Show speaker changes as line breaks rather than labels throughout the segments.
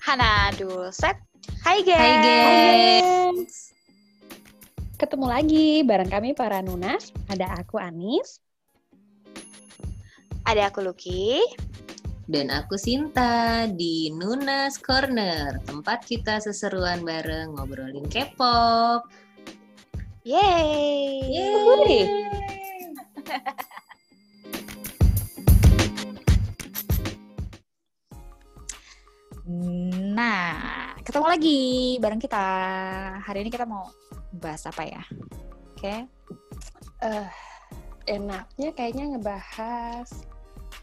Hana dulu set. Hai guys.
Hai, guys.
Ketemu lagi bareng kami para Nunas. Ada aku Anis.
Ada aku Luki.
Dan aku Sinta di Nunas Corner, tempat kita seseruan bareng ngobrolin K-pop.
Yeay.
Iya,
Yeay.
Nah, ketemu lagi bareng kita. Hari ini kita mau bahas apa ya? Oke.
Eh, enaknya kayaknya ngebahas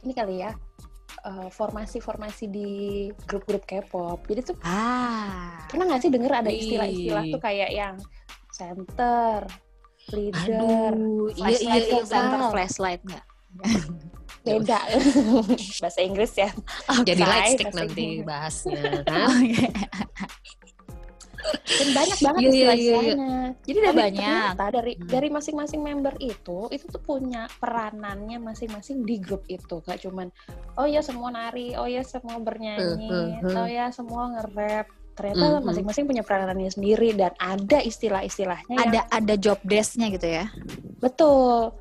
ini kali ya eh, formasi-formasi di grup-grup K-pop. Jadi tuh
Ah.
pernah nggak sih denger ada
Wih.
istilah-istilah tuh kayak yang center, leader,
Aduh, iya iya
Flashlight
iya.
nggak? Center
Val.
flashlight nggak?
beda bahasa Inggris ya.
Oh, Jadi
Bye,
lightstick
pasti.
nanti bahasnya kan.
Oke.
Dan banyak banget
Iya, iya, iya, iya.
istilah-istilahnya.
Jadi udah
Tapi
banyak.
ternyata dari
Hmm.
dari masing-masing member itu itu tuh punya peranannya masing-masing di grup itu gak cuman oh ya semua nari oh ya semua bernyanyi
Hmm, hmm, hmm.
oh ya semua nge-rap ternyata
Hmm, hmm.
masing-masing punya peranannya sendiri dan ada istilah-istilahnya yang-
Ada ada job desk-nya gitu ya.
betul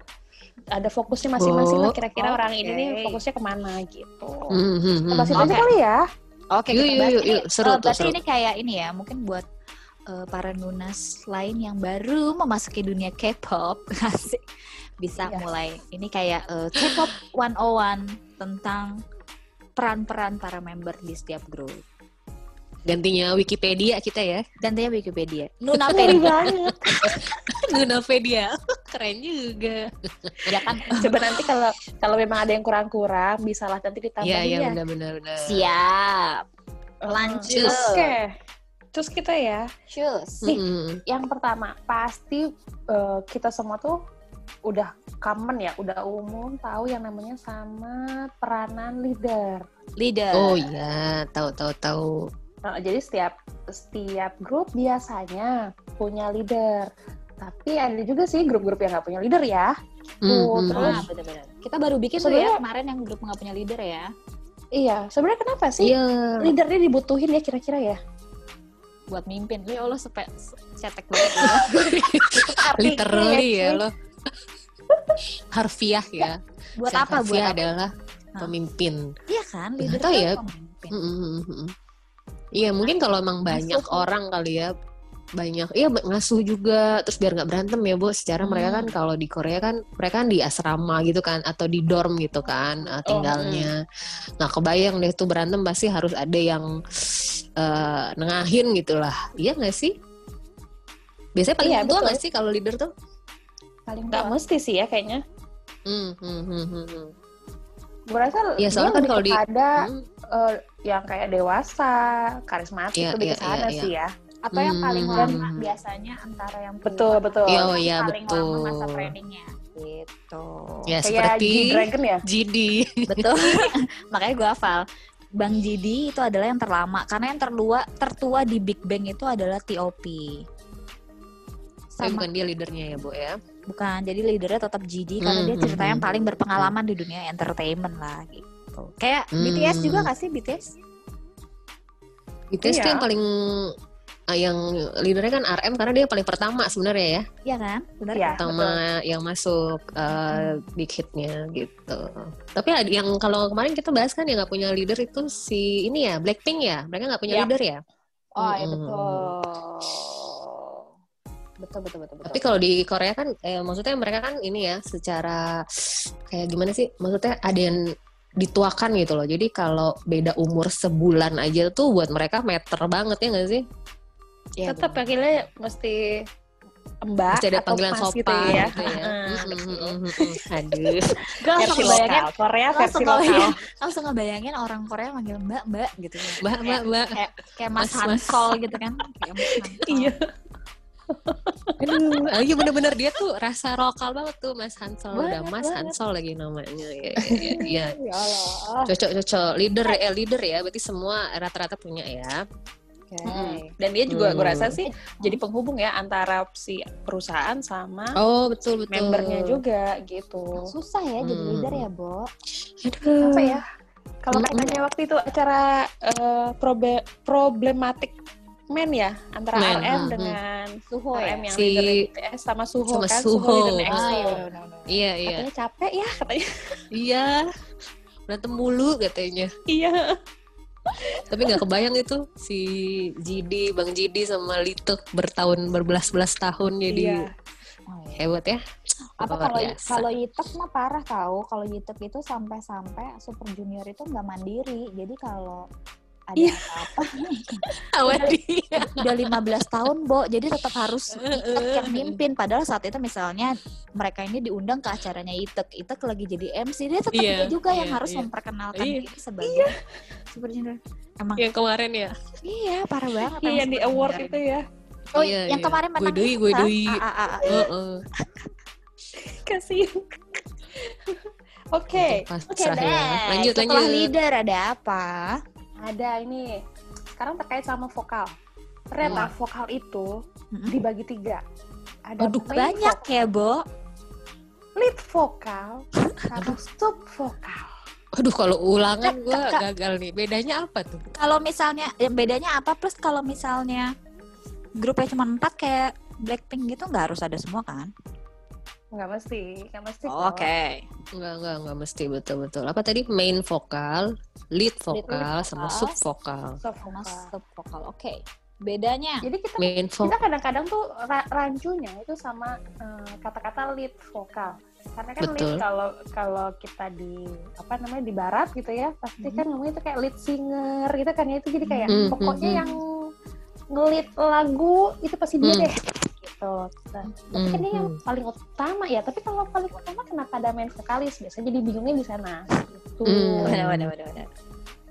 ada fokusnya masing-masing lah
Oh,
kira-kira orang ini
oke.
nih fokusnya kemana gitu
Hmm, hmm,
Kita
hmm.
bahas itu aja
Oke.
kali ya
Oke,
Yuk,
kita
yuk,
bahas
yuk,
ini.
yuk. Seru
Eh,
tuh,
berarti
seru.
ini kayak ini ya, mungkin buat eh, para nunas lain yang baru memasuki dunia K-pop, asik. Bisa
Iya.
mulai. Ini kayak eh, K-pop 101 tentang peran-peran para member di setiap grup.
Gantinya Wikipedia kita ya.
Gantinya Wikipedia.
Iya.
Ngeri
Nunapedia.
banget
Nunapedia. Keren juga.
ya kan?
Eh.
coba nanti kalau kalau memang ada yang kurang-kurang bisa lah nanti ditambahin
Iya, iya
ya
benar-benar. benar.
Siap. Lanjut.
Oke. Terus kita ya,
Cus.
Nih.
Mm-mm.
yang pertama pasti eh, kita semua tuh udah common ya, udah umum tahu yang namanya sama peranan leader.
Leader.
Oh iya, tahu tahu tahu.
Nah, jadi setiap setiap grup biasanya punya leader. Tapi ada juga sih grup-grup yang nggak punya leader ya. Tuh,
Mm, mm,
terus
mm.
Ah, Kita baru bikin tuh
Sebenarnya-
ya kemarin yang grup nggak punya leader ya.
Iya, sebenarnya kenapa sih
Iya.
leadernya dibutuhin ya kira-kira ya?
Buat mimpin. Ya Allah, sepe, se- cetek banget. ya.
Literally ya lo. Harfiah ya.
buat
Sang
apa? Buat
Harfiah
apa?
adalah
Hah?
pemimpin.
Iya kan?
Nggak
Leader
tahu
itu
ya.
pemimpin.
Mm, mm, mm, mm. Iya, mungkin kalau emang banyak
Ngasuh.
orang kali ya banyak iya ba- ngasuh juga terus biar nggak berantem ya bu secara mereka
Hmm.
kan kalau di Korea kan mereka kan di asrama gitu kan atau di dorm gitu kan
Oh,
eh, tinggalnya
hmm.
nah kebayang deh tuh berantem pasti harus ada yang eh, nengahin gitulah iya nggak sih biasanya paling
Iya,
tua
betul.
nggak sih kalau leader tuh
Paling
Nggak
tua.
mesti sih ya kayaknya.
Hmm, hmm, hmm, hmm, hmm.
Gue rasa
Iya,
dia
soalnya kan
lebih
kalau di-
kepada
Hmm.
eh, yang kayak dewasa, karismatik
Iya,
lebih
iya,
ke sana
iya, iya.
sih ya.
Atau yang paling
Hmm.
lama biasanya antara yang
Betul, betul.
Iya,
Yang
oh iya,
paling lama masa
betul.
trainingnya. Gitu.
ya
kayak
seperti
G-Dragon ya?
Jidi
Betul. Makanya gue hafal. Bang Jidi itu adalah yang terlama karena yang terlua, tertua di Big Bang itu adalah TOP. Sama
Tapi
bukan.
bukan dia leadernya ya bu ya
jadi leadernya tetap Jidi karena
Hmm,
dia ceritanya yang
hmm,
paling
hmm,
berpengalaman di dunia entertainment lah gitu. Kayak
Hmm.
BTS juga gak sih BTS?
BTS tuh
Iya.
yang paling ah, yang leadernya kan RM karena dia paling pertama sebenarnya ya
Iya kan? Benar
Iya.
kan?
pertama yang masuk eh, big hitnya gitu tapi ada yang kalau kemarin kita bahas kan yang nggak punya leader itu si ini ya Blackpink ya mereka nggak punya
Iya.
leader ya
Oh, iya
Mm-mm.
betul. Betul, betul, betul, betul.
tapi kalau di Korea kan eh, maksudnya mereka kan ini ya secara kayak gimana sih maksudnya ada yang dituakan gitu loh jadi kalau beda umur sebulan aja tuh buat mereka meter banget ya nggak sih
Iya,
tetap
benar.
akhirnya ya, mesti mbak
Pasti ada
atau
panggilan
mas
sopan Mm,
gitu ya.
Aduh.
Gue langsung
Versi
kebayangin Korea
Langsung
iya.
versi lokal.
kebayang. Langsung ngebayangin orang Korea manggil Mbak Mbak gitu. ya.
Mbak, mbak, mbak.
kayak, kayak Mas,
Mas, Mas.
Hansol gitu kan. Kayak Mas Hansol.
Iya.
Aduh, ah, iya bener-bener dia tuh rasa lokal banget tuh Mas Hansol. Udah
Banget,
Mas
banget.
Hansol lagi namanya. Iya, iya, iya.
Ya Allah.
Cocok-cocok. Leader, eh, leader ya. Berarti semua rata-rata punya ya.
Mm-mm. Dan dia juga gue
Hmm.
rasa sih jadi penghubung ya antara si perusahaan sama
Oh, betul-betul.
membernya juga gitu.
Susah ya jadi
Hmm.
leader ya, Bo.
Aduh.
Apa ya? Kalau
Mm-mm.
katanya waktu itu acara eh, probe- problematik men ya antara
Men,
RM
mm-mm.
dengan
Suho
RM
ya?
yang
hmm, Si-
leader ITS sama Suho
sama
kan
Suho.
leader next
Ah.
ya.
Iya iya
Katanya capek ya katanya.
iya. Berantem mulu katanya.
iya.
Tapi nggak kebayang itu si Jidi, Bang Jidi sama Lito bertahun berbelas-belas tahun jadi
Iya.
Oh, iya.
hebat ya.
apa
Luar
kalau
biasa.
kalau Yitep mah parah tahu kalau Yitep itu sampai-sampai Super Junior itu nggak mandiri jadi kalau ada
Iya.
apa-apa
Awal dia.
udah 15 tahun Bo jadi tetap harus Itek yang mimpin padahal saat itu misalnya mereka ini diundang ke acaranya Itek Itek lagi jadi MC dia tetap dia
Iya,
juga yang
iya,
harus
iya.
memperkenalkan
Iya.
diri sebagai Super Junior emang
Yang kemarin ya.
iya parah banget
Iya,
emang
yang di
Super
award
Junior.
itu ya.
oh
Iya,
yang
iya.
kemarin
Gue
menang
doi, gue
kita.
doi.
Ah, ah, ah, ah.
Heeh.
Kasih. Oke.
Pas
Oke,
serah ya.
Nah,
Lanjut
setelah
lanjut.
leader ada apa
Ada ini. Sekarang terkait sama vokal.
Iya.
Ternyata vokal itu dibagi tiga. Ada
Aduh,
main
banyak ya, Bo.
lead vokal sama sub vokal.
Aduh kalau ulangan gue
Kak, kak.
gagal nih. Bedanya apa tuh?
Kalau misalnya eh, bedanya apa plus kalau misalnya grupnya cuma empat kayak Blackpink gitu nggak harus ada semua kan?
Nggak mesti, nggak mesti.
Oh,
kok.
Oke.
Enggak, enggak, enggak mesti betul-betul. Apa tadi main vokal, lead vokal,
vokal.
sama sub vokal.
Sub
Sama
vokal.
sub vokal. Oke. Bedanya
Jadi kita
Main vokal.
kita kadang-kadang tuh ra- rancunya itu sama eh, kata-kata lead vokal. Karena kan lead
Betul.
kalau kalau kita di apa namanya di barat gitu ya, pasti
Mhm.
kan namanya itu kayak lead singer gitu kan ya itu jadi kayak
Mhm,
pokoknya
mhm.
yang ngelit lagu itu pasti dia
Mhm.
deh gitu. Nah, tapi kan dia yang paling utama ya. Tapi kalau paling utama kenapa ada main vokalis? Biasanya jadi bingungnya di sana. Gitu.
Hmm.
Waduh, waduh, waduh, waduh.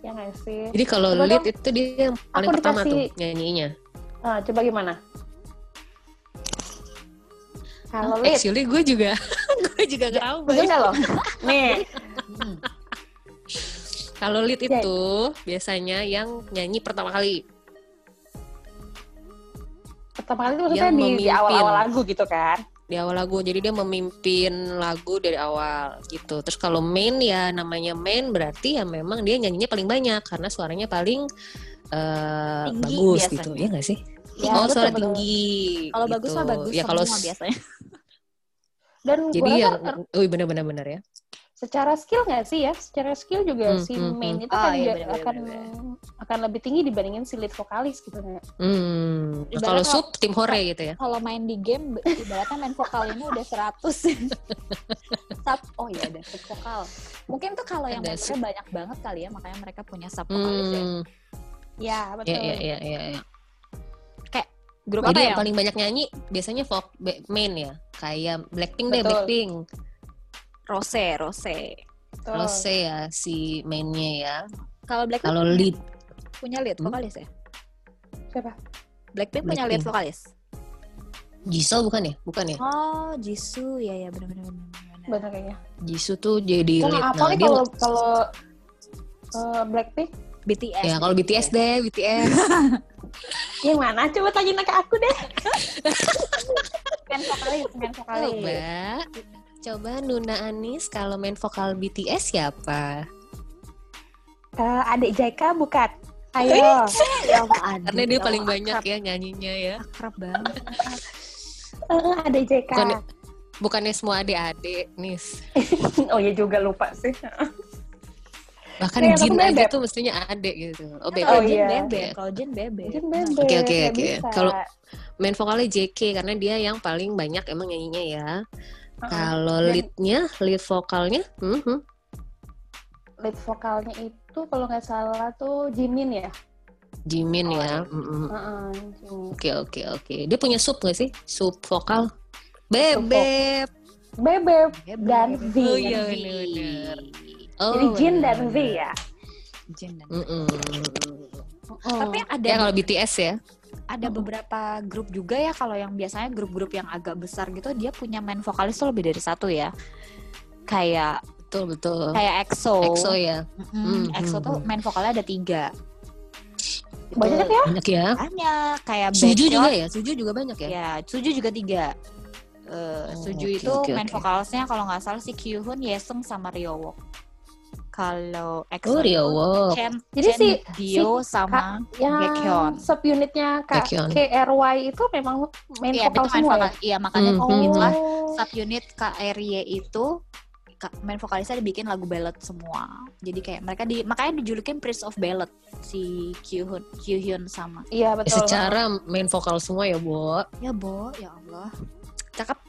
Ya nggak sih?
Jadi kalau
Coba
lead
dong.
itu dia yang paling
Aku
pertama
dikasih-
tuh nyanyinya.
Ah, coba gimana? Kalau lead,
Actually gue juga gue juga nggak tahu
bener
Bay.
nggak Eh, loh? Nih,
Hmm.
Kalau lead
Jadi.
itu biasanya yang nyanyi pertama kali.
pertama kali itu maksudnya
Yang
di, di
memimpin.
awal-awal lagu gitu kan
di awal lagu jadi dia memimpin lagu dari awal gitu terus kalau main ya namanya main berarti ya memang dia nyanyinya paling banyak karena suaranya paling eh,
Tinggi
bagus
biasanya.
gitu ya nggak sih
Ya,
oh
betul,
suara
betul.
tinggi
Kalau
gitu.
bagus mah bagus
ya kalau
semua
s-
biasanya.
dan
jadi
gue
yang
rasa
oh benar-benar benar ya
secara skill nggak sih ya secara skill
Hmm,
juga si
hmm,
main itu
Oh,
kan
iya,
juga
bener-bener,
akan akan lebih tinggi dibandingin si lead vokalis gitu kan
hmm.
Ibarat
kalau
kalau-
sub tim hore gitu ya
Kalau main di game be- ibaratnya main vokalnya udah 100. sub oh ya ada sub vokal. Mungkin tuh kalau yang
Ada
membernya
sub.
banyak banget kali ya makanya mereka punya sub vokalis ya.
hmm.
ya betul
ya ya ya ya, ya.
Grup
jadi
apa ya?
yang paling banyak nyanyi biasanya folk be- main ya kayak Blackpink deh
Betul.
Blackpink
Rose, Rose.
betul.
Rose ya si mainnya ya
Kalau Blackpink
kalau
punya-
lead
punya lead
Hmm?
vokalis ya?
Siapa?
Blackpink punya lead
Blackpink.
vokalis.
Jisoo bukan ya? Bukan ya?
Oh, Jisoo ya ya benar-benar benar.
bener kayaknya
Jisoo tuh jadi
gue
lead.
nggak
Nah,
nih
dia-
kalau kalau eh, Blackpink
BTS.
ya kalau BTS deh, BTS.
yang mana coba tanyain ke aku deh main vokalis main vokalis
Coba coba Nuna Anis kalau main vokal BTS siapa?
Eh, adik Jaika bukan
Eh?
ayo
ya Allah, aduh,
Karena dia
ya
paling
Allah,
banyak ya nyanyinya ya.
akrab banget.
Eh, adik Jaika
Bukan- ya? Bukannya semua adik-adik, Nis.
oh ya juga lupa sih
Iya. Bahkan
Iya, tapi
Jin aja
bebek.
tuh mestinya adik gitu. Oh,
Kan Kalau
Oh,
bebek.
Jin
iya.
bebe,
Iya.
kalau Jin bebe.
mungkin bebek
Oke, oke,
nggak
oke.
bisa.
Kalau- Main vokalnya JK karena dia yang paling banyak emang nyanyinya ya.
Uh-uh.
Kalau
Dan-
leadnya, lead vokalnya, hmm, hmm.
lead vokalnya itu kalau nggak salah tuh Jimin ya.
Jimin ya.
Oh.
Mm-mm.
Heeh, Jimin.
Oke, oke, oke. Dia punya sub gak sih? Sub vokal. Bebek.
Bebep
Bebe.
dan V.
Oh, iya, bener-bener. Oh,
Jadi Jin
bener.
dan V ya.
Jin dan
Mm-mm.
Tapi ada
Ya kalau BTS ya.
ada beberapa grup juga ya kalau yang biasanya grup-grup yang agak besar gitu dia punya main vokalis tuh lebih dari satu ya. Kayak
Betul betul.
kayak EXO.
EXO ya.
Mm-mm,
Mm,
EXO
mm,
tuh
mm.
main vokalnya ada tiga. Gitu.
banyak ya.
Banyak ya.
Banyak kayak
Suju
Baekhyun,
juga ya. Suju juga banyak
Iya,
ya.
Ya, Suju juga tiga. Eh,
Oh,
Suju
oke,
itu
oke,
main
oke.
vokalnya kalau nggak salah si Kyuhun, Yesung sama Ryeowook. Kalau EXO
Oh, Rio
itu
Wook.
Chen,
Jadi
Chen,
si-
Dio sama Baekhyun.
yang subunitnya K-
Baekhyun.
KRY itu memang main
Iya,
vokal
itu main
semua ya?
vokal. Iya, makanya
Hmm,
oh.
hmm.
itulah subunit KRY itu ka- main vokalisnya dibikin lagu ballad semua. Jadi kayak mereka di makanya dijulukin Prince of Ballad si Kyuhyun Kyuhyun sama.
Iya betul.
Secara main vokal semua ya, Bo.
Ya, Bo, ya Allah. Cakep.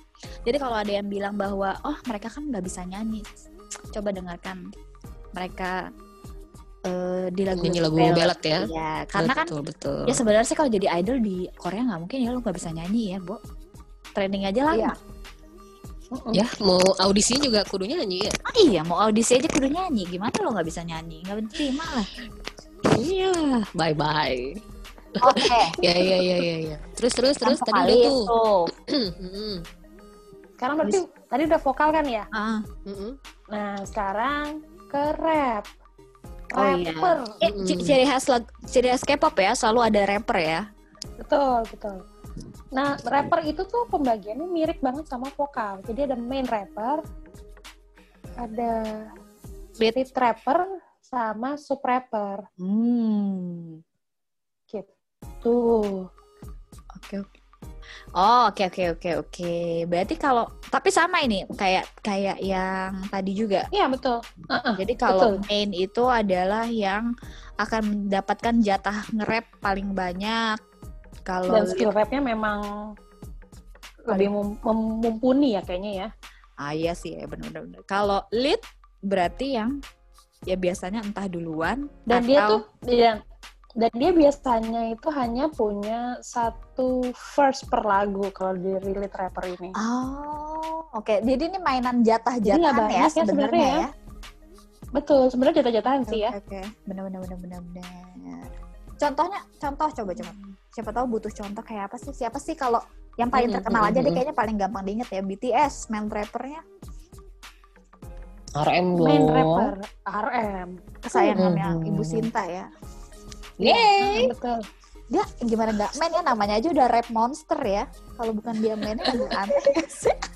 Jadi kalau ada yang bilang bahwa oh, mereka kan nggak bisa nyanyi. Coba dengarkan mereka eh di lagu
Nyanyi lagu ballad ya.
Iya, karena kan
betul, betul.
Ya sebenarnya sih kalau jadi idol di Korea nggak mungkin ya lu nggak bisa nyanyi ya, Bo. Training aja lah. Iya.
Iya. Mm-mm.
Ya, mau audisi juga kudunya nyanyi ya.
iya, mau audisi aja kudu nyanyi. Gimana lo nggak bisa nyanyi? Nggak diterima lah.
Iya, bye-bye.
Oke.
Ya, ya, ya, ya, ya. Terus, terus, terus. Tadi udah tuh. Mm-mm.
Sekarang berarti tadi udah vokal kan ya?
Ah,
Mm-mm.
Nah sekarang ke rap.
Oh, iya.
Rapper.
eh, c- ciri khas lag- ciri khas K-pop ya, selalu ada rapper ya.
Betul betul. Nah rapper itu tuh pembagiannya mirip banget sama vokal. Jadi ada main rapper, ada
Lead.
lead rapper, sama sub rapper.
Hmm.
Tuh.
Oke. oke. Oh, oke oke oke oke. Berarti kalau tapi sama ini kayak kayak yang tadi juga
Iya betul. Uh-uh.
Jadi kalau
Betul.
main itu adalah yang akan mendapatkan jatah nge-rap paling banyak. Kalau
Dan skill rapnya memang lebih mum- mem- mumpuni ya kayaknya ya.
ah iya sih ya benar-benar. Kalau lead berarti yang ya biasanya entah duluan
dan dia
atau-
tuh dan, dan dia biasanya itu hanya punya satu verse per lagu kalau di relate rapper ini
Oh, oke. Jadi ini mainan
Jadi nggak
jatah-jatahan ya
banyak ya
sebenarnya
sebenarnya
ya.
betul sebenarnya jatah-jatahan sih ya
Oke, oke. Benar-benar benar-benar. benar. Contohnya, contoh coba coba. Siapa tahu butuh contoh kayak apa sih? Siapa sih kalau yang paling
Mm,
terkenal
mm,
aja
mm,
deh
mm.
kayaknya paling gampang diinget ya BTS, main rappernya
RM dong.
main rapper RM
kesayangannya
Mm.
Ibu Sinta ya.
Yeay.
betul
Dia gimana nggak main ya namanya aja udah rap monster ya. Kalau bukan dia mainnya agak aneh.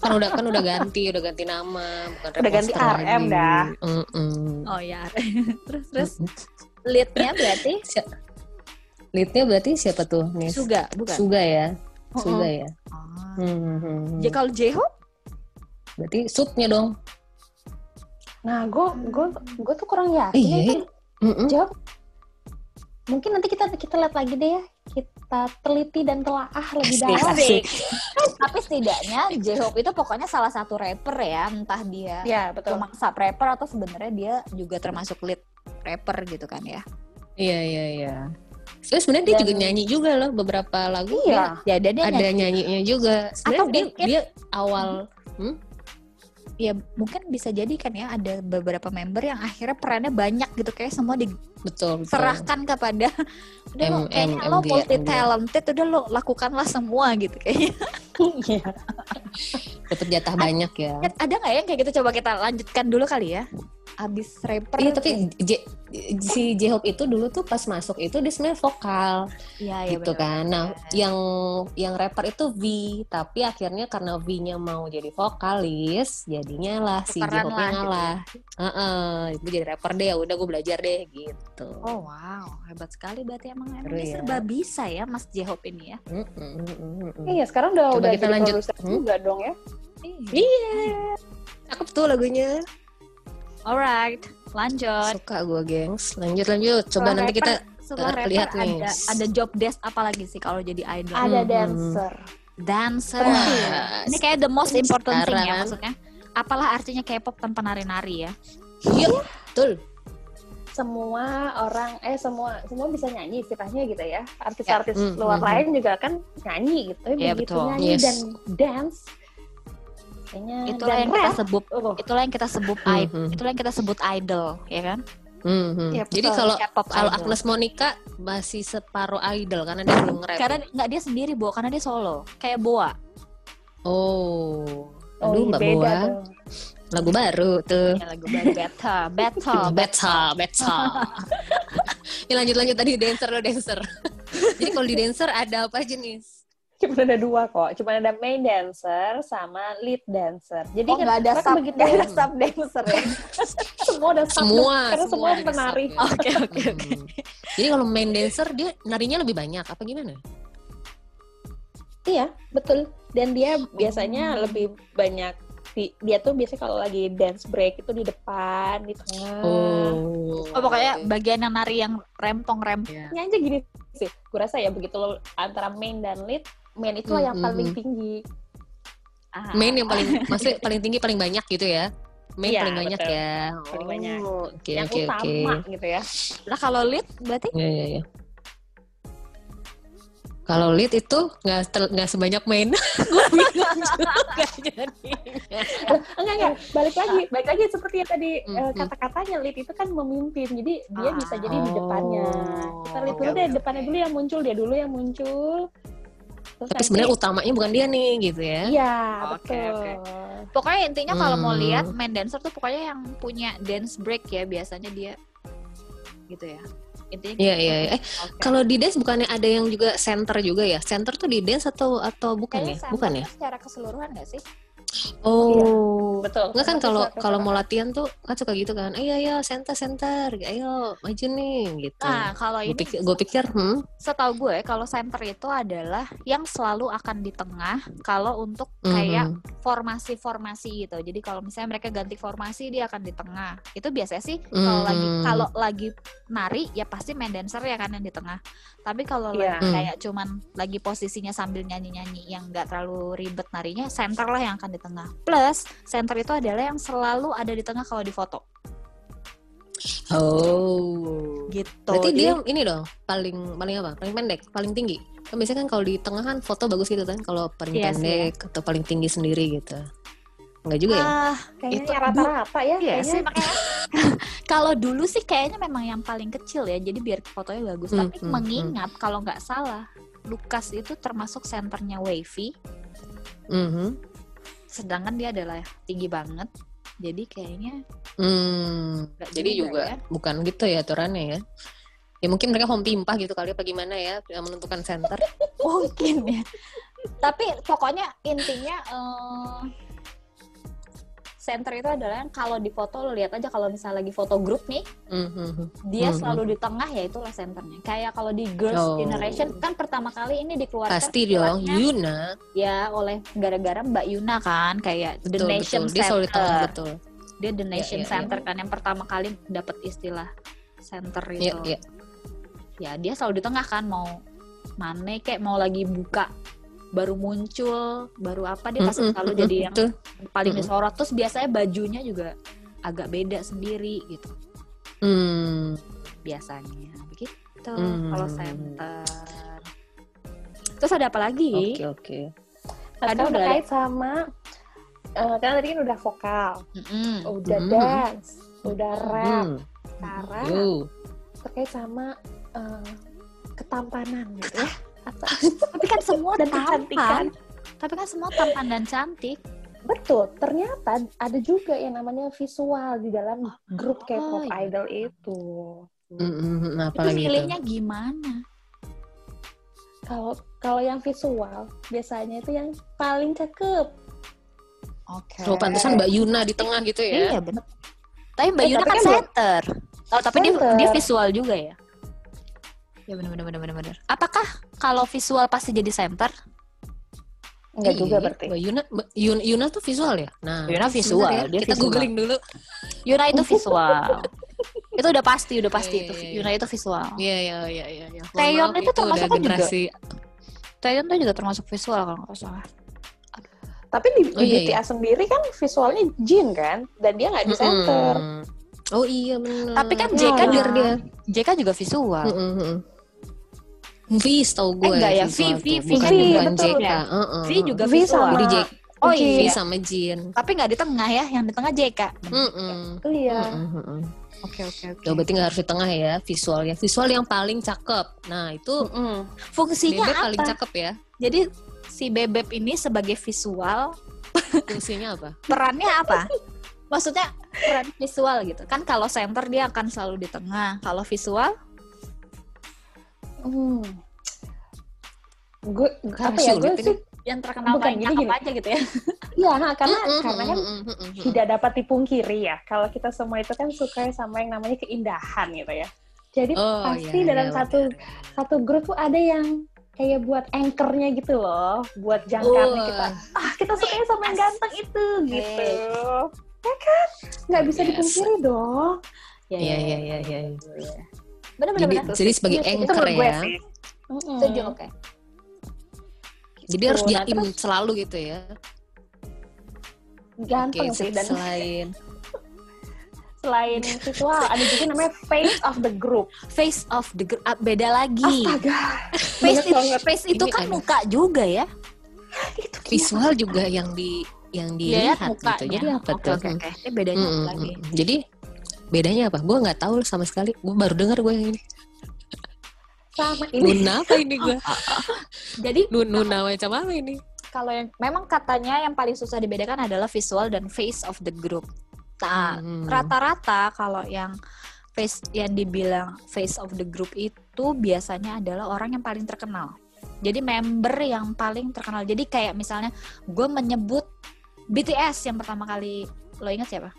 Kan udah kan udah ganti, udah ganti nama, bukan
Udah ganti
Rapmonster
RM
lagi.
dah.
Mm-mm.
Oh ya. terus terus leadnya berarti
Si- Leadnya berarti siapa tuh? Nis?
Suga bukan?
Suga ya. Suga ya.
Oh.
Hmm, hmm, hmm.
Ya kalau J-Hope
Berarti subnya dong.
nah gue gue gue tuh kurang yakin
Iya.
ya, kan?
Mm-mm.
jawab mungkin nanti kita kita lihat lagi deh ya kita teliti dan telaah lebih
Asik,
dalam
Iya
asik.
tapi setidaknya J-Hope itu pokoknya salah satu rapper ya, entah dia
Iya,
ya betul
cuma sub rapper atau sebenarnya dia juga termasuk lead rapper gitu kan ya.
Iya, iya, iya. Terus sebenarnya dia
Dan-
juga nyanyi juga loh beberapa lagu.
iya
Ya dan dia
ada
nyanyi-
nyanyinya juga. Sebenarnya
Atau
dia
mungkin-
dia awal
ya mungkin bisa jadi kan ya ada beberapa member yang akhirnya perannya banyak gitu kayak semua
betul betul.
diserahkan kepada udah lo
M-
kayaknya
M-
lo
MD,
multi talented udah lo lakukanlah semua gitu kayaknya.
Iya.
Dapat jatah banyak ya.
Ada nggak ya yang kayak gitu coba kita lanjutkan dulu kali ya. Abis rapper ya,
Iya tapi J- si J Hope itu dulu tuh pas masuk itu dia sebenarnya vokal
Iya, iya,
gitu
bener.
kan. Nah yang yang rapper itu V tapi akhirnya karena V-nya mau jadi vokalis jadinya lah si J
Tukeran
Hope nya
lah gitu.
ngalah. Heeh, gue jadi rapper deh. Udah gue belajar deh gitu.
Oh wow, hebat sekali berarti emang emang
Seru
dia
ya.
serba bisa ya Mas J-Hope ini ya.
Mm, mm, mm, mm, mm.
Iya, sekarang udah
Coba
udah
kita
jadi
lanjut.
produser
Hmm?
juga dong ya.
Iya.
Cakep tuh lagunya.
Alright, lanjut.
Suka gue, gengs. Lanjut lanjut. Coba
Setelah
nanti kita
Setelah rapper
lihat nih.
ada ada job desk apa lagi sih kalau jadi idol?
Ad-
Ada
Hmm.
dancer.
Dancer.
Wah,
Ini kayak the most important thing ya
Sekarang.
maksudnya. Apalah artinya K-pop tanpa nari-nari ya?
Iya, betul.
semua orang eh semua semua bisa nyanyi istilahnya gitu ya artis-artis
Ya, mm,
luar
mm,
lain juga kan nyanyi gitu
Iya,
begitu
betul.
nyanyi
Yes.
dan dance kayaknya
Hmm,
Itulah
dan
yang kita
rap,
sebut
oh,
itulah yang kita sebut
Mhm.
idol. Itulah yang kita sebut idol, ya kan?
Mhm.
Iya,
Jadi
betul.
kalau
K-pop
kalau
idol.
Agnes Monica masih separuh idol karena dia belum nge-rap.
Karena nggak dia sendiri, Bo, karena dia solo. Kayak Boa.
Oh.
oh,
Aduh,
iya,
Mbak
beda
Boa.
dong.
Lagu baru tuh.
Ya lagu baru Beta, Beta.
Gitu.
Oh,
Betsa, betsa. ya lanjut lanjut tadi dancer lo dancer. Jadi kalau di dancer ada apa aja nih?
Cuma ada dua kok. Cuma ada main dancer sama lead dancer. Jadi
Oh,
kan
nggak ada
mereka
sub-
begitu-
nggak
ada
sub dancer ya. semua ada sub
Semua,
dancer, karena semua,
semua ada
penari.
sub
Oke oke oke.
Hmm. Jadi kalau main dancer dia narinya lebih banyak apa gimana?
Iya, betul. Dan dia biasanya lebih banyak di- dia tuh biasanya kalau lagi dance break itu di depan, di tengah.
Oh.
Oh pokoknya bagian yang nari yang rempong-rempong.
Iya.
Ini aja gini sih. Gue rasa ya begitu lo antara main dan lead, main itu lah yang
Mm,
paling
mhm.
tinggi.
Ah.
Main ya? yang paling maksudnya paling tinggi paling banyak gitu ya. Main
Iya,
paling banyak
betul.
ya.
Paling banyak.
Oh,
Oke
yang
oke oke.
utama gitu ya.
Nah kalau lead berarti
Iya iya iya. Kalau lead itu nggak ter- nggak sebanyak main. Gue bingung juga jadi.
Enggak, enggak. Balik lagi. Balik lagi seperti yang tadi eh,
Mhm.
kata-katanya, lead itu kan memimpin. Jadi dia
Ah,
bisa jadi di depannya.
Oh.
Kita lead
Oke,
dulu deh,
oke,
depannya
oke.
dulu yang muncul, dia dulu yang muncul. Terus
Tapi
nanti-
sebenarnya utamanya bukan dia nih gitu ya.
Iya,
Oke,
betul.
oke. pokoknya intinya kalau mau
Hmm.
lihat main dancer tuh pokoknya yang punya dance break ya biasanya dia gitu ya. Intinya
Iya iya. iya. Eh
Oke.
kalau di dance bukannya ada yang juga center juga ya? Center tuh di dance atau atau bukan
Kayaknya
ya?
sama Iya.
Bukan ya? Iya.
tuh secara keseluruhan gak sih?
Oh.
Betul.
Enggak kan
Nanti
kalau
suatu
kalau
saat-
mau latihan tuh kan suka gitu kan. Ayo ayo center center. Ayo maju nih gitu.
Nah, kalau
gue
ini
pikir, gue pikir hmm,
setahu gue kalau center itu adalah yang selalu akan di tengah kalau untuk kayak
mhm,
formasi-formasi gitu. Jadi kalau misalnya mereka ganti formasi dia akan di tengah. Itu biasanya sih kalau lagi
Hmm.
kalau lagi nari ya pasti main dancer ya kan yang di tengah. Tapi kalau lagi
Iya.
Hmm.
kayak cuman lagi posisinya sambil nyanyi-nyanyi yang nggak terlalu ribet narinya, center lah yang akan di tengah. Plus, center itu adalah yang selalu ada di tengah kalau di foto.
Oh.
Gitu.
Berarti
Jadi-
dia ini dong paling paling apa? Paling pendek, paling tinggi. Kan biasanya kan kalau di tengah kan foto bagus gitu kan kalau paling
Iya sih,
pendek atau paling tinggi sendiri gitu. Enggak juga ya?
Ah,
Kayaknya
Itu-
ya rata-rata ya.
Iya
kayaknya.
sih makanya kalau dulu sih kayaknya memang yang paling kecil ya jadi biar fotonya bagus
Hmm,
tapi
hmm,
mengingat kalau nggak salah Lukas itu termasuk senternya wavy
Mhm.
sedangkan dia adalah tinggi banget jadi kayaknya
Hmm,
Nggak
jadi
juga
juga
ya.
bukan gitu ya aturannya ya. Ya mungkin mereka home pimpah gitu kali apa gimana ya yang menentukan center.
mungkin ya tapi pokoknya intinya eh, center itu adalah yang kalau di foto lo lihat aja kalau misalnya lagi foto grup nih
Mhm.
dia
Hmm.
selalu di tengah ya itulah senternya kayak kalau di girls
Oh.
generation kan pertama kali ini dikeluarkan
Pasti dong,
istilahnya
Yuna.
ya oleh gara-gara Mbak Yuna kan kayak The
Betul,
Nation
betul. Dia selalu di tengah,
Center. gitu.
betul.
Dia The Nation
iya, iya.
Center kan yang pertama kali dapat istilah center itu.
Iya, iya.
Ya dia selalu di tengah kan mau mana kayak mau lagi buka baru muncul, baru apa dia pasti
Mm-mm,
selalu
mm-mm,
jadi yang
betul.
paling
Mm-mm.
disorot. Terus biasanya bajunya juga agak beda sendiri gitu
Hmm.
biasanya. Nah, Begitu
Hmm.
kalau center. Terus ada apa lagi?
Oke, oke.
Ada
Nah, sekarang
udah
terkait sama eh, karena tadi kan udah vokal,
Mm-mm.
udah
Hmm.
Mhm.
dance, udah rap.
Hmm.
Sekarang
Iya.
Yo.
terkait sama eh, ketampanan gitu ya. Atau
Tapi kan semua
dan
tampan.
kecantikan.
Tapi kan semua tampan dan cantik.
Betul, ternyata ada juga yang namanya visual di dalam grup
Oh,
K-pop
iya.
idol itu.
Mm-mm,
Itu
apalagi Mm-hmm. itu.
milihnya gimana?
Kalau kalau yang visual biasanya itu yang paling cakep.
Oke.
Oh, pantesan Mbak Yuna di tengah gitu ya.
Iya benar. Tapi Mbak
Eh,
Yuna
tapi
kan
kan dia-
center. Oh, tapi dia
Center.
dia visual juga ya. Ya benar benar benar benar, benar. Apakah kalau visual pasti jadi center?
Enggak
Iya,
juga
iya.
berarti.
Mbak Yuna, Mbak Yuna, Yuna tuh visual ya? Nah,
Yuna visual,
sebentar ya,
dia
kita
visual.
googling dulu.
Yuna itu visual. itu udah pasti, udah pasti
Iya,
itu.
iya, iya.
Yuna itu visual.
Iya, iya, iya, iya. iya. Mohon
Taeyeon
maaf,
itu termasuk
udah
kan juga?
generasi
Taeyeon tuh juga termasuk visual kalau nggak salah.
Tapi di,
Oh,
di
iya,
BTS sendiri kan visualnya Jin kan, dan dia nggak di center.
Mm-mm. Oh iya benar.
Tapi kan
JK
kan
juga-
dia.
JK juga visual.
Mm-mm. Viz tau
Eh,
gue.
enggak ya, Vi, Vi,
visual tuh.
Vi.
bukan,
Vi,
kan bukan
betul. Iya.
JK. Uh-uh.
Vi juga
Vi
visual.
Jadi
sama-
JK,
Oh
Jin.
Vi
iya.
sama Jin.
Tapi nggak di tengah ya, yang di tengah JK.
Mm-mm.
Iya.
Mm-mm, mm-mm.
Oke oke oke.
Udah, berarti nggak harus di tengah ya visualnya. Visual yang paling cakep. Nah itu
Mm-mm.
Fungsinya
bebek
apa?
paling cakep ya.
Jadi si bebek ini sebagai visual
Fungsinya apa?
perannya apa? Maksudnya peran visual gitu kan? Kalau center dia akan selalu di tengah. Kalau visual
Hmm. gue
Karena
apa ya gue
sulit ini.
sih
yang terkenal
Bukan,
banyak
gini,
apa aja gitu ya
ya karena
Mm-mm,
karena kan
mm-mm, mm-mm, mm-mm.
tidak dapat dipungkiri ya kalau kita semua itu kan suka sama yang namanya keindahan gitu ya jadi
Oh,
pasti
iya,
dalam
iya,
satu satu grup tuh ada yang kayak buat anchornya gitu loh buat
Oh,
jangkarnya kita
Wah,
ah kita sukanya sama yang ganteng itu gitu
Hey.
ya kan nggak bisa
Biasa.
dipungkiri dong Ya,
Iya, iya, iya, iya.
bener bener
Jadi,
bener
jadi sebagai
Itu
anchor
menurut gue
ya.
sih. Hmm. Mm-mm.
setuju oke
Jadi harus
Nah,
jaim selalu gitu ya. Oke,
ganteng sih
se-
dan
selain
selain visual ada juga namanya face of the group
face of the gr- ah, beda lagi
astaga
face
banyak
itu,
banget.
face itu
Ini
kan
ada.
muka juga ya
itu gila.
visual juga yang di yang
Iya,
dilihat gitu.
mukanya.
Jadi apa
Oke,
tuh?
oke,
Hmm.
oke. Ini bedanya apa
Mm-mm,
lagi
mm-mm. Jadi bedanya apa? Gue nggak tahu sama sekali. Gue baru dengar gue yang ini.
sama ini
Nuna apa ini gue?
jadi
Nun- Nuna macam apa ini?
kalau yang memang katanya yang paling susah dibedakan adalah visual dan face of the group nah
Hmm.
rata-rata kalau yang face yang dibilang face of the group itu biasanya adalah orang yang paling terkenal. Jadi member yang paling terkenal. Jadi kayak misalnya gue menyebut BTS yang pertama kali lo ingat siapa?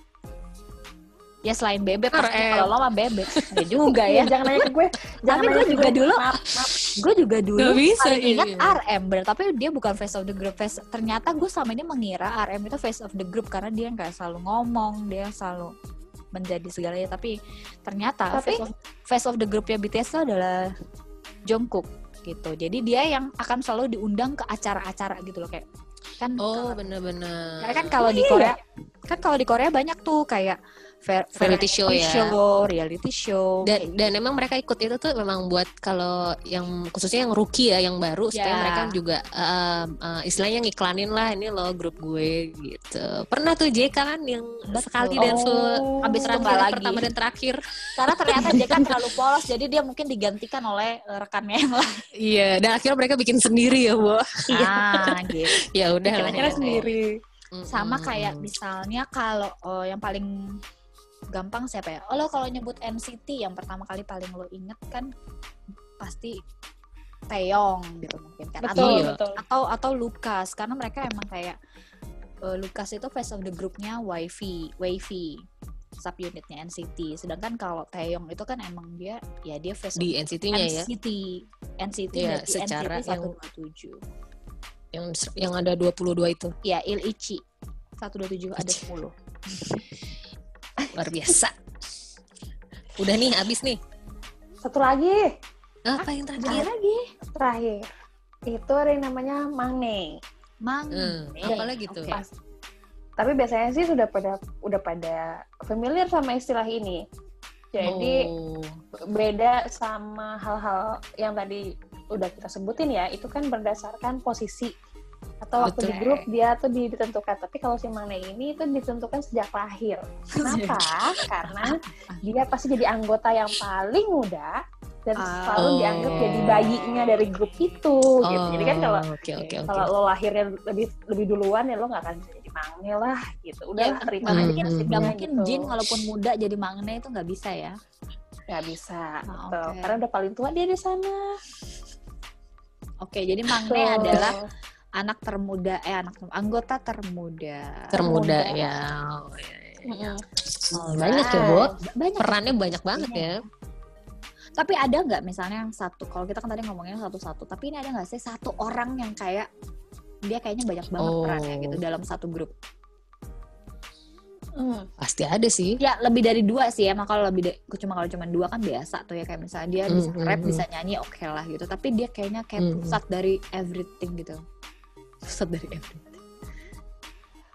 Ya selain Bebek, pasti
RM.
kalau lo sama Bebek, ya juga ya.
Iya, jangan nanya ke gue jangan
Tapi
nanya
gue
ke
juga dulu-
maaf, maaf.
Gue juga dulu
Gak bisa
paling
kayak
ingat
gini.
RM, bener. Tapi dia bukan face of the group. Face, ternyata gue selama ini mengira RM itu face of the group karena dia nggak selalu ngomong, dia selalu menjadi segalanya. Tapi ternyata
tapi
face of face of the groupnya BTS itu adalah Jungkook gitu. Jadi dia yang akan selalu diundang ke acara-acara gitu loh kayak kan
Oh iya.
kalau-
benar-benar.
karena kan kalau di Korea kan kalau di Korea banyak tuh kayak ver-
Variety show ya.
show, reality show.
dan dan emang mereka ikut itu tuh memang buat kalau yang khususnya yang rookie ya yang baru supaya
Ya.
mereka juga um, uh, istilahnya ngiklanin lah ini loh grup gue gitu pernah tuh JK kan yang
Betul.
sekali dan se
Oh.
abis
terakhir,
Nggak lagi.
pertama dan terakhir
Karena ternyata dia kan terlalu polos jadi dia mungkin digantikan oleh eh, rekannya yang lain.
iya dan akhirnya mereka bikin sendiri ya bu
Ah, gitu.
ya udah lah Hmm.
Kira-kira
ya.
sendiri
Mm-mm.
Sama kayak misalnya kalau eh, yang paling gampang siapa ya? Oh, lo kalau nyebut NCT yang pertama kali paling lo inget kan pasti Taeyong gitu mungkin kan. Atau
betul
Iya.
betul
atau atau Lukas karena mereka emang kayak eh, Lukas itu face of the groupnya YV YV sub unitnya NCT sedangkan kalau Taeyong itu kan emang dia ya dia face
di
of
NCT-nya ya
NCT NCT
Iya,
berarti
secara
NCT
yang-
127
yang yang ada 22 itu
ya Ilichi 127 ada 10
luar biasa udah nih abis nih
satu lagi
apa yang terakhir
lagi
terakhir itu ada yang namanya mangne
Mang
Hmm, apa lagi tuh?
oke.
Pas- tapi biasanya sih sudah pada udah pada familiar sama istilah ini jadi
Oh.
beda sama hal-hal yang tadi udah kita sebutin ya itu kan berdasarkan posisi atau waktu
Betul.
di grup dia tuh di- ditentukan tapi kalau si Mangne ini itu ditentukan sejak lahir kenapa karena dia pasti jadi anggota yang paling muda dan selalu
Oh.
dianggap jadi bayinya dari grup itu gitu. jadi kan kalau
Oh, oke oke oke.
kalau lo lahirnya lebih lebih duluan ya lo nggak akan bisa jadi mangne lah gitu udah
Ya,
terima
nggak
aja
mungkin-
nasibnya
nggak mungkin
gitu.
Jin walaupun muda jadi Mangne itu nggak bisa ya
nggak bisa
Ah,
betul.
oke.
Gitu. karena udah paling tua dia di sana
oke jadi Mangne
Betul.
adalah anak termuda eh anak termuda, anggota termuda
termuda
Muda.
ya.
Mm-mm.
Oh, banyak ya, Bu.
banyak
Perannya banyak banget ya.
Tapi ada nggak misalnya yang satu? Kalau kita kan tadi ngomongnya satu-satu, tapi ini ada nggak sih satu orang yang kayak dia kayaknya banyak banget
Oh.
perannya gitu dalam satu grup?
Mm.
Pasti ada sih.
Ya lebih dari dua sih ya. Maka kalau lebih da- cuma kalau cuma dua kan biasa tuh ya kayak misalnya dia bisa
Mm, mm,
rap,
mm.
bisa nyanyi, oke lah gitu. Tapi dia kayaknya kayak
Mm, mm.
pusat dari everything gitu. Pusat dari everything.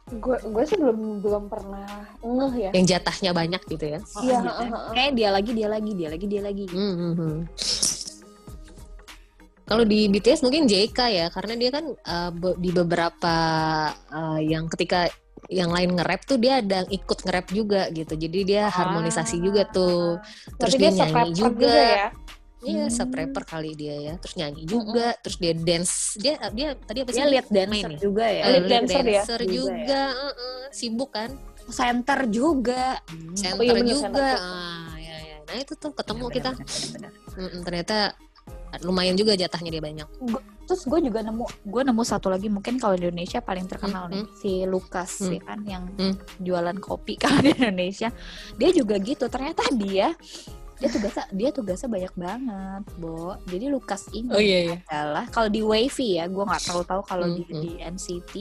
gue gue sih belum belum pernah ngeh ya
Yang jatahnya banyak gitu ya.
Oh,
Iya,
gitu.
heeh, heeh.
Kayak dia lagi, dia lagi, dia lagi, dia lagi. gitu.
Hmm, hmm, hmm. Kalau di BTS mungkin JK ya, karena dia kan uh, be- di beberapa uh, yang ketika yang lain nge-rap tuh dia ada ikut nge-rap juga gitu. Jadi dia harmonisasi juga tuh. Terus
Berarti
dia,
survivor
nyanyi juga.
ya
Iya,
Hmm.
sub rapper kali dia ya. Terus nyanyi juga, terus dia dance. Dia dia tadi apa sih?
Dia lihat dancer
main ya?
juga ya.
Eh,
Lead
lead
dancer dia.
Juga
juga, eh, eh, sibuk kan
Center juga.
center
iya bener,
juga
center.
Ah, ya, ya. nah itu tuh ketemu
Iya, Bener,
kita Hmm,
bener, bener, bener, bener.
Mm-mm, ternyata lumayan juga jatahnya dia banyak
terus gue juga nemu gue nemu satu lagi mungkin kalau di Indonesia paling terkenal
Hmm,
nih si Lukas
Hmm.
ya kan yang
Hmm.
jualan kopi kalau di Indonesia dia juga gitu ternyata dia dia tugasnya dia tugasnya banyak banget Bo jadi Lukas ini
Oh, iya, iya.
adalah kalau di Wavy ya gue nggak terlalu tahu kalau di,
Hmm,
di NCT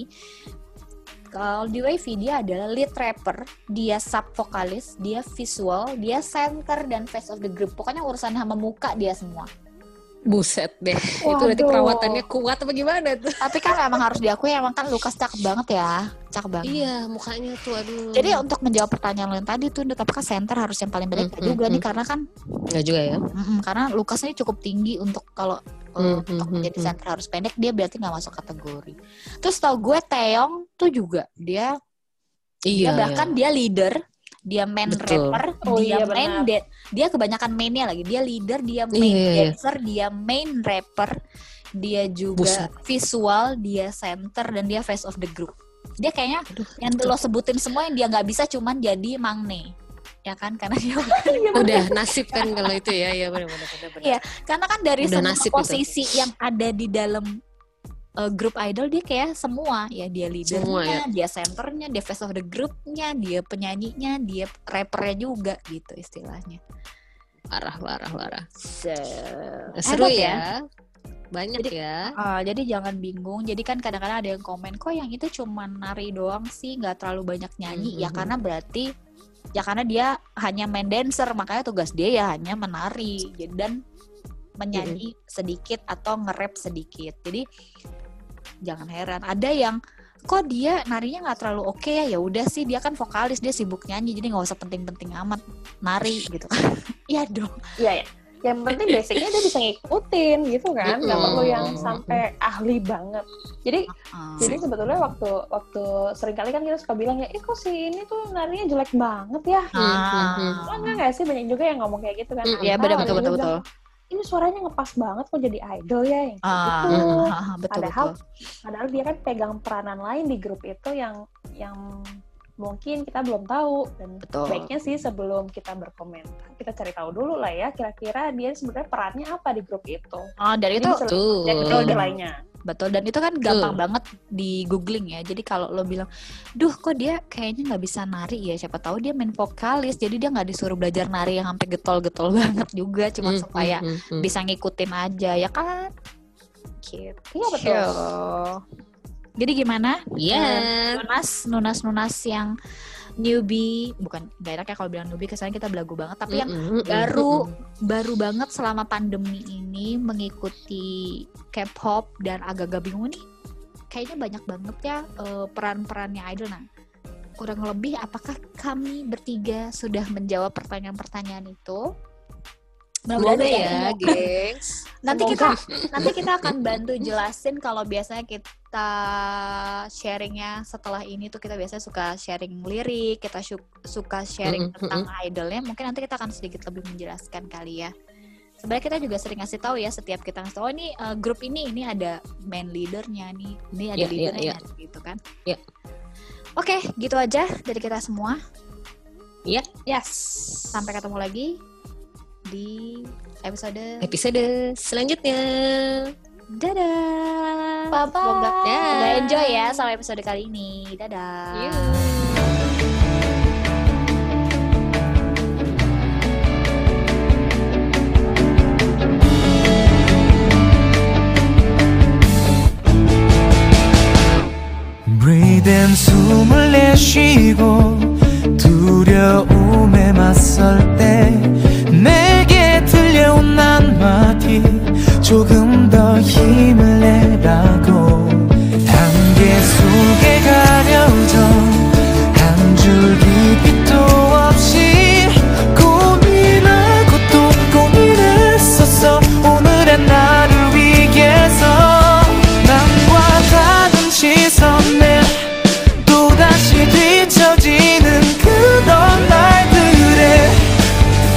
kalau di Wavy dia adalah lead rapper dia sub vokalis dia visual dia center dan face of the group pokoknya urusannya sama muka dia semua
Buset deh. Itu berarti
Waduh.
perawatannya kuat apa gimana tuh?
Tapi kan emang harus diakui emang kan Lukas cakep banget ya, cakep banget.
Iya, mukanya tuh aduh.
Jadi untuk menjawab pertanyaan lo yang tadi tuh, Ndut, apakah center harus yang paling banyak
Hmm,
Nggak
hmm,
juga nih
hmm.
karena kan,
enggak juga ya.
mm-mm, karena Lukas ini cukup tinggi untuk kalau untuk
Hmm, hmm, hmm,
menjadi
hmm.
center harus pendek dia berarti nggak masuk kategori. Terus tau gue Teong tuh juga dia, dia Ya,
Iya.
bahkan dia leader, dia main
Betul.
rapper,
Oh
dia
iya,
main
benar.
dan- dia kebanyakan mainnya lagi, dia leader, dia main
Iya, iya, iya.
dancer, dia main rapper, dia juga
Buset.
visual, dia center dan dia face of the group. Dia kayaknya
Aduh,
yang lo sebutin semua yang dia nggak bisa cuman jadi mangne ya kan karena dia
udah nasib kan kalau itu ya, ya benar benar benar. benar.
Iya. karena kan dari
Udah
semua
nasib itu.
posisi yang ada di dalam uh, grup idol dia kayak semua ya dia leadernya
Semua, ya.
dia centernya dia face of the groupnya dia penyanyinya dia rappernya juga gitu istilahnya
Parah parah parah.
So,
Seru
enak
ya. Banyak
Jadi-
ya.
Ah, jadi jangan bingung. Jadi kan kadang-kadang ada yang komen, kok yang itu cuma nari doang sih, nggak terlalu banyak nyanyi.
Mhm.
Ya karena berarti, ya karena dia hanya main dancer, makanya tugas dia ya hanya menari Jadi, dan menyanyi sedikit atau nge-rap sedikit. Jadi jangan heran. Ada yang kok dia narinya nggak terlalu oke ya? Ya udah sih, dia kan vokalis, dia sibuk nyanyi, jadi nggak usah penting-penting amat nari gitu. Iya dong.
Iya ya. Yang penting basicnya dia bisa ngikutin gitu kan, nggak perlu yang sampai ahli banget. Jadi
Ah.
jadi sebetulnya waktu waktu seringkali kan kita suka bilang ya, eh kok si ini tuh narinya jelek banget ya.
Ah.
Kan nggak sih banyak juga yang ngomong kayak gitu kan.
Mm,
Ya
Iya
benar betul betul betul.
Ini suaranya ngepas banget kok jadi idol ya. Yang kayak
Ah,
gitu.
ah, ah, betul
Padahal-
betul.
Padahal dia kan pegang peranan lain di grup itu yang yang mungkin kita belum tahu dan
Betul.
baiknya sih sebelum kita berkomentar kita cari tahu dulu lah ya kira-kira dia sebenarnya perannya apa di grup itu
Ah, dan itu
Jadi sel-
Tuh.
dan itu
ya,
nilainya
betul dan itu kan gampang banget di googling ya. Jadi kalau lo bilang, duh kok dia kayaknya nggak bisa nari ya. Siapa tahu dia main vokalis. Jadi dia nggak disuruh belajar nari yang sampai getol-getol banget juga. Cuma
Mm,
supaya
mm, mm, mm.
ya. bisa ngikutin aja ya kan. Gitu.
iya betul
Jadi gimana?
Iya.
Nunas, nunas, nunas yang newbie bukan gak enak ya kalau bilang newbie kesannya kita belagu banget. Tapi yang
Mm, mm, mm,
baru
mm,
baru banget selama pandemi ini mengikuti K-pop dan agak-agak bingung nih kayaknya banyak banget ya eh, peran-perannya idol nah kurang lebih apakah kami bertiga sudah menjawab pertanyaan-pertanyaan itu
mm.
Mudah-mudahan
Boleh
tidak
ya,
semua.
gengs.
nanti kita nanti kita akan bantu jelasin kalau biasanya kita sharingnya setelah ini tuh kita biasanya suka sharing lirik kita syuk- suka sharing
Mm-mm,
tentang idolnya mungkin nanti kita akan sedikit lebih menjelaskan kali ya sebenarnya kita juga sering ngasih tahu ya setiap kita ngasih tahu oh, ini eh, grup ini ini ada main leadernya nih ini ada
Iya, iya,
leadernya
iya.
nih, gitu kan
Iya.
oke gitu aja dari kita semua
Iya.
yes sampai ketemu lagi di episode
Episode selanjutnya.
Dadah.
Bye-bye.
Semoga,
Dadah.
semoga enjoy ya sama episode kali ini. Dadah.
Breathe in 숨을 내쉬고 두려움에 맞설 때 내게 들려온 한마디 조금 더 힘을 내라고 한계 속에 가려져 한 줄기 빛도 없이 고민하고 또 고민했었어 오늘의 나를 위해서 남과 다른 시선에 또다시 뒤처지는 그런 날들에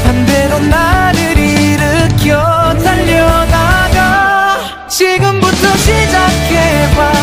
반대로 나를 일으켜 달려나가 지금부터 시작해봐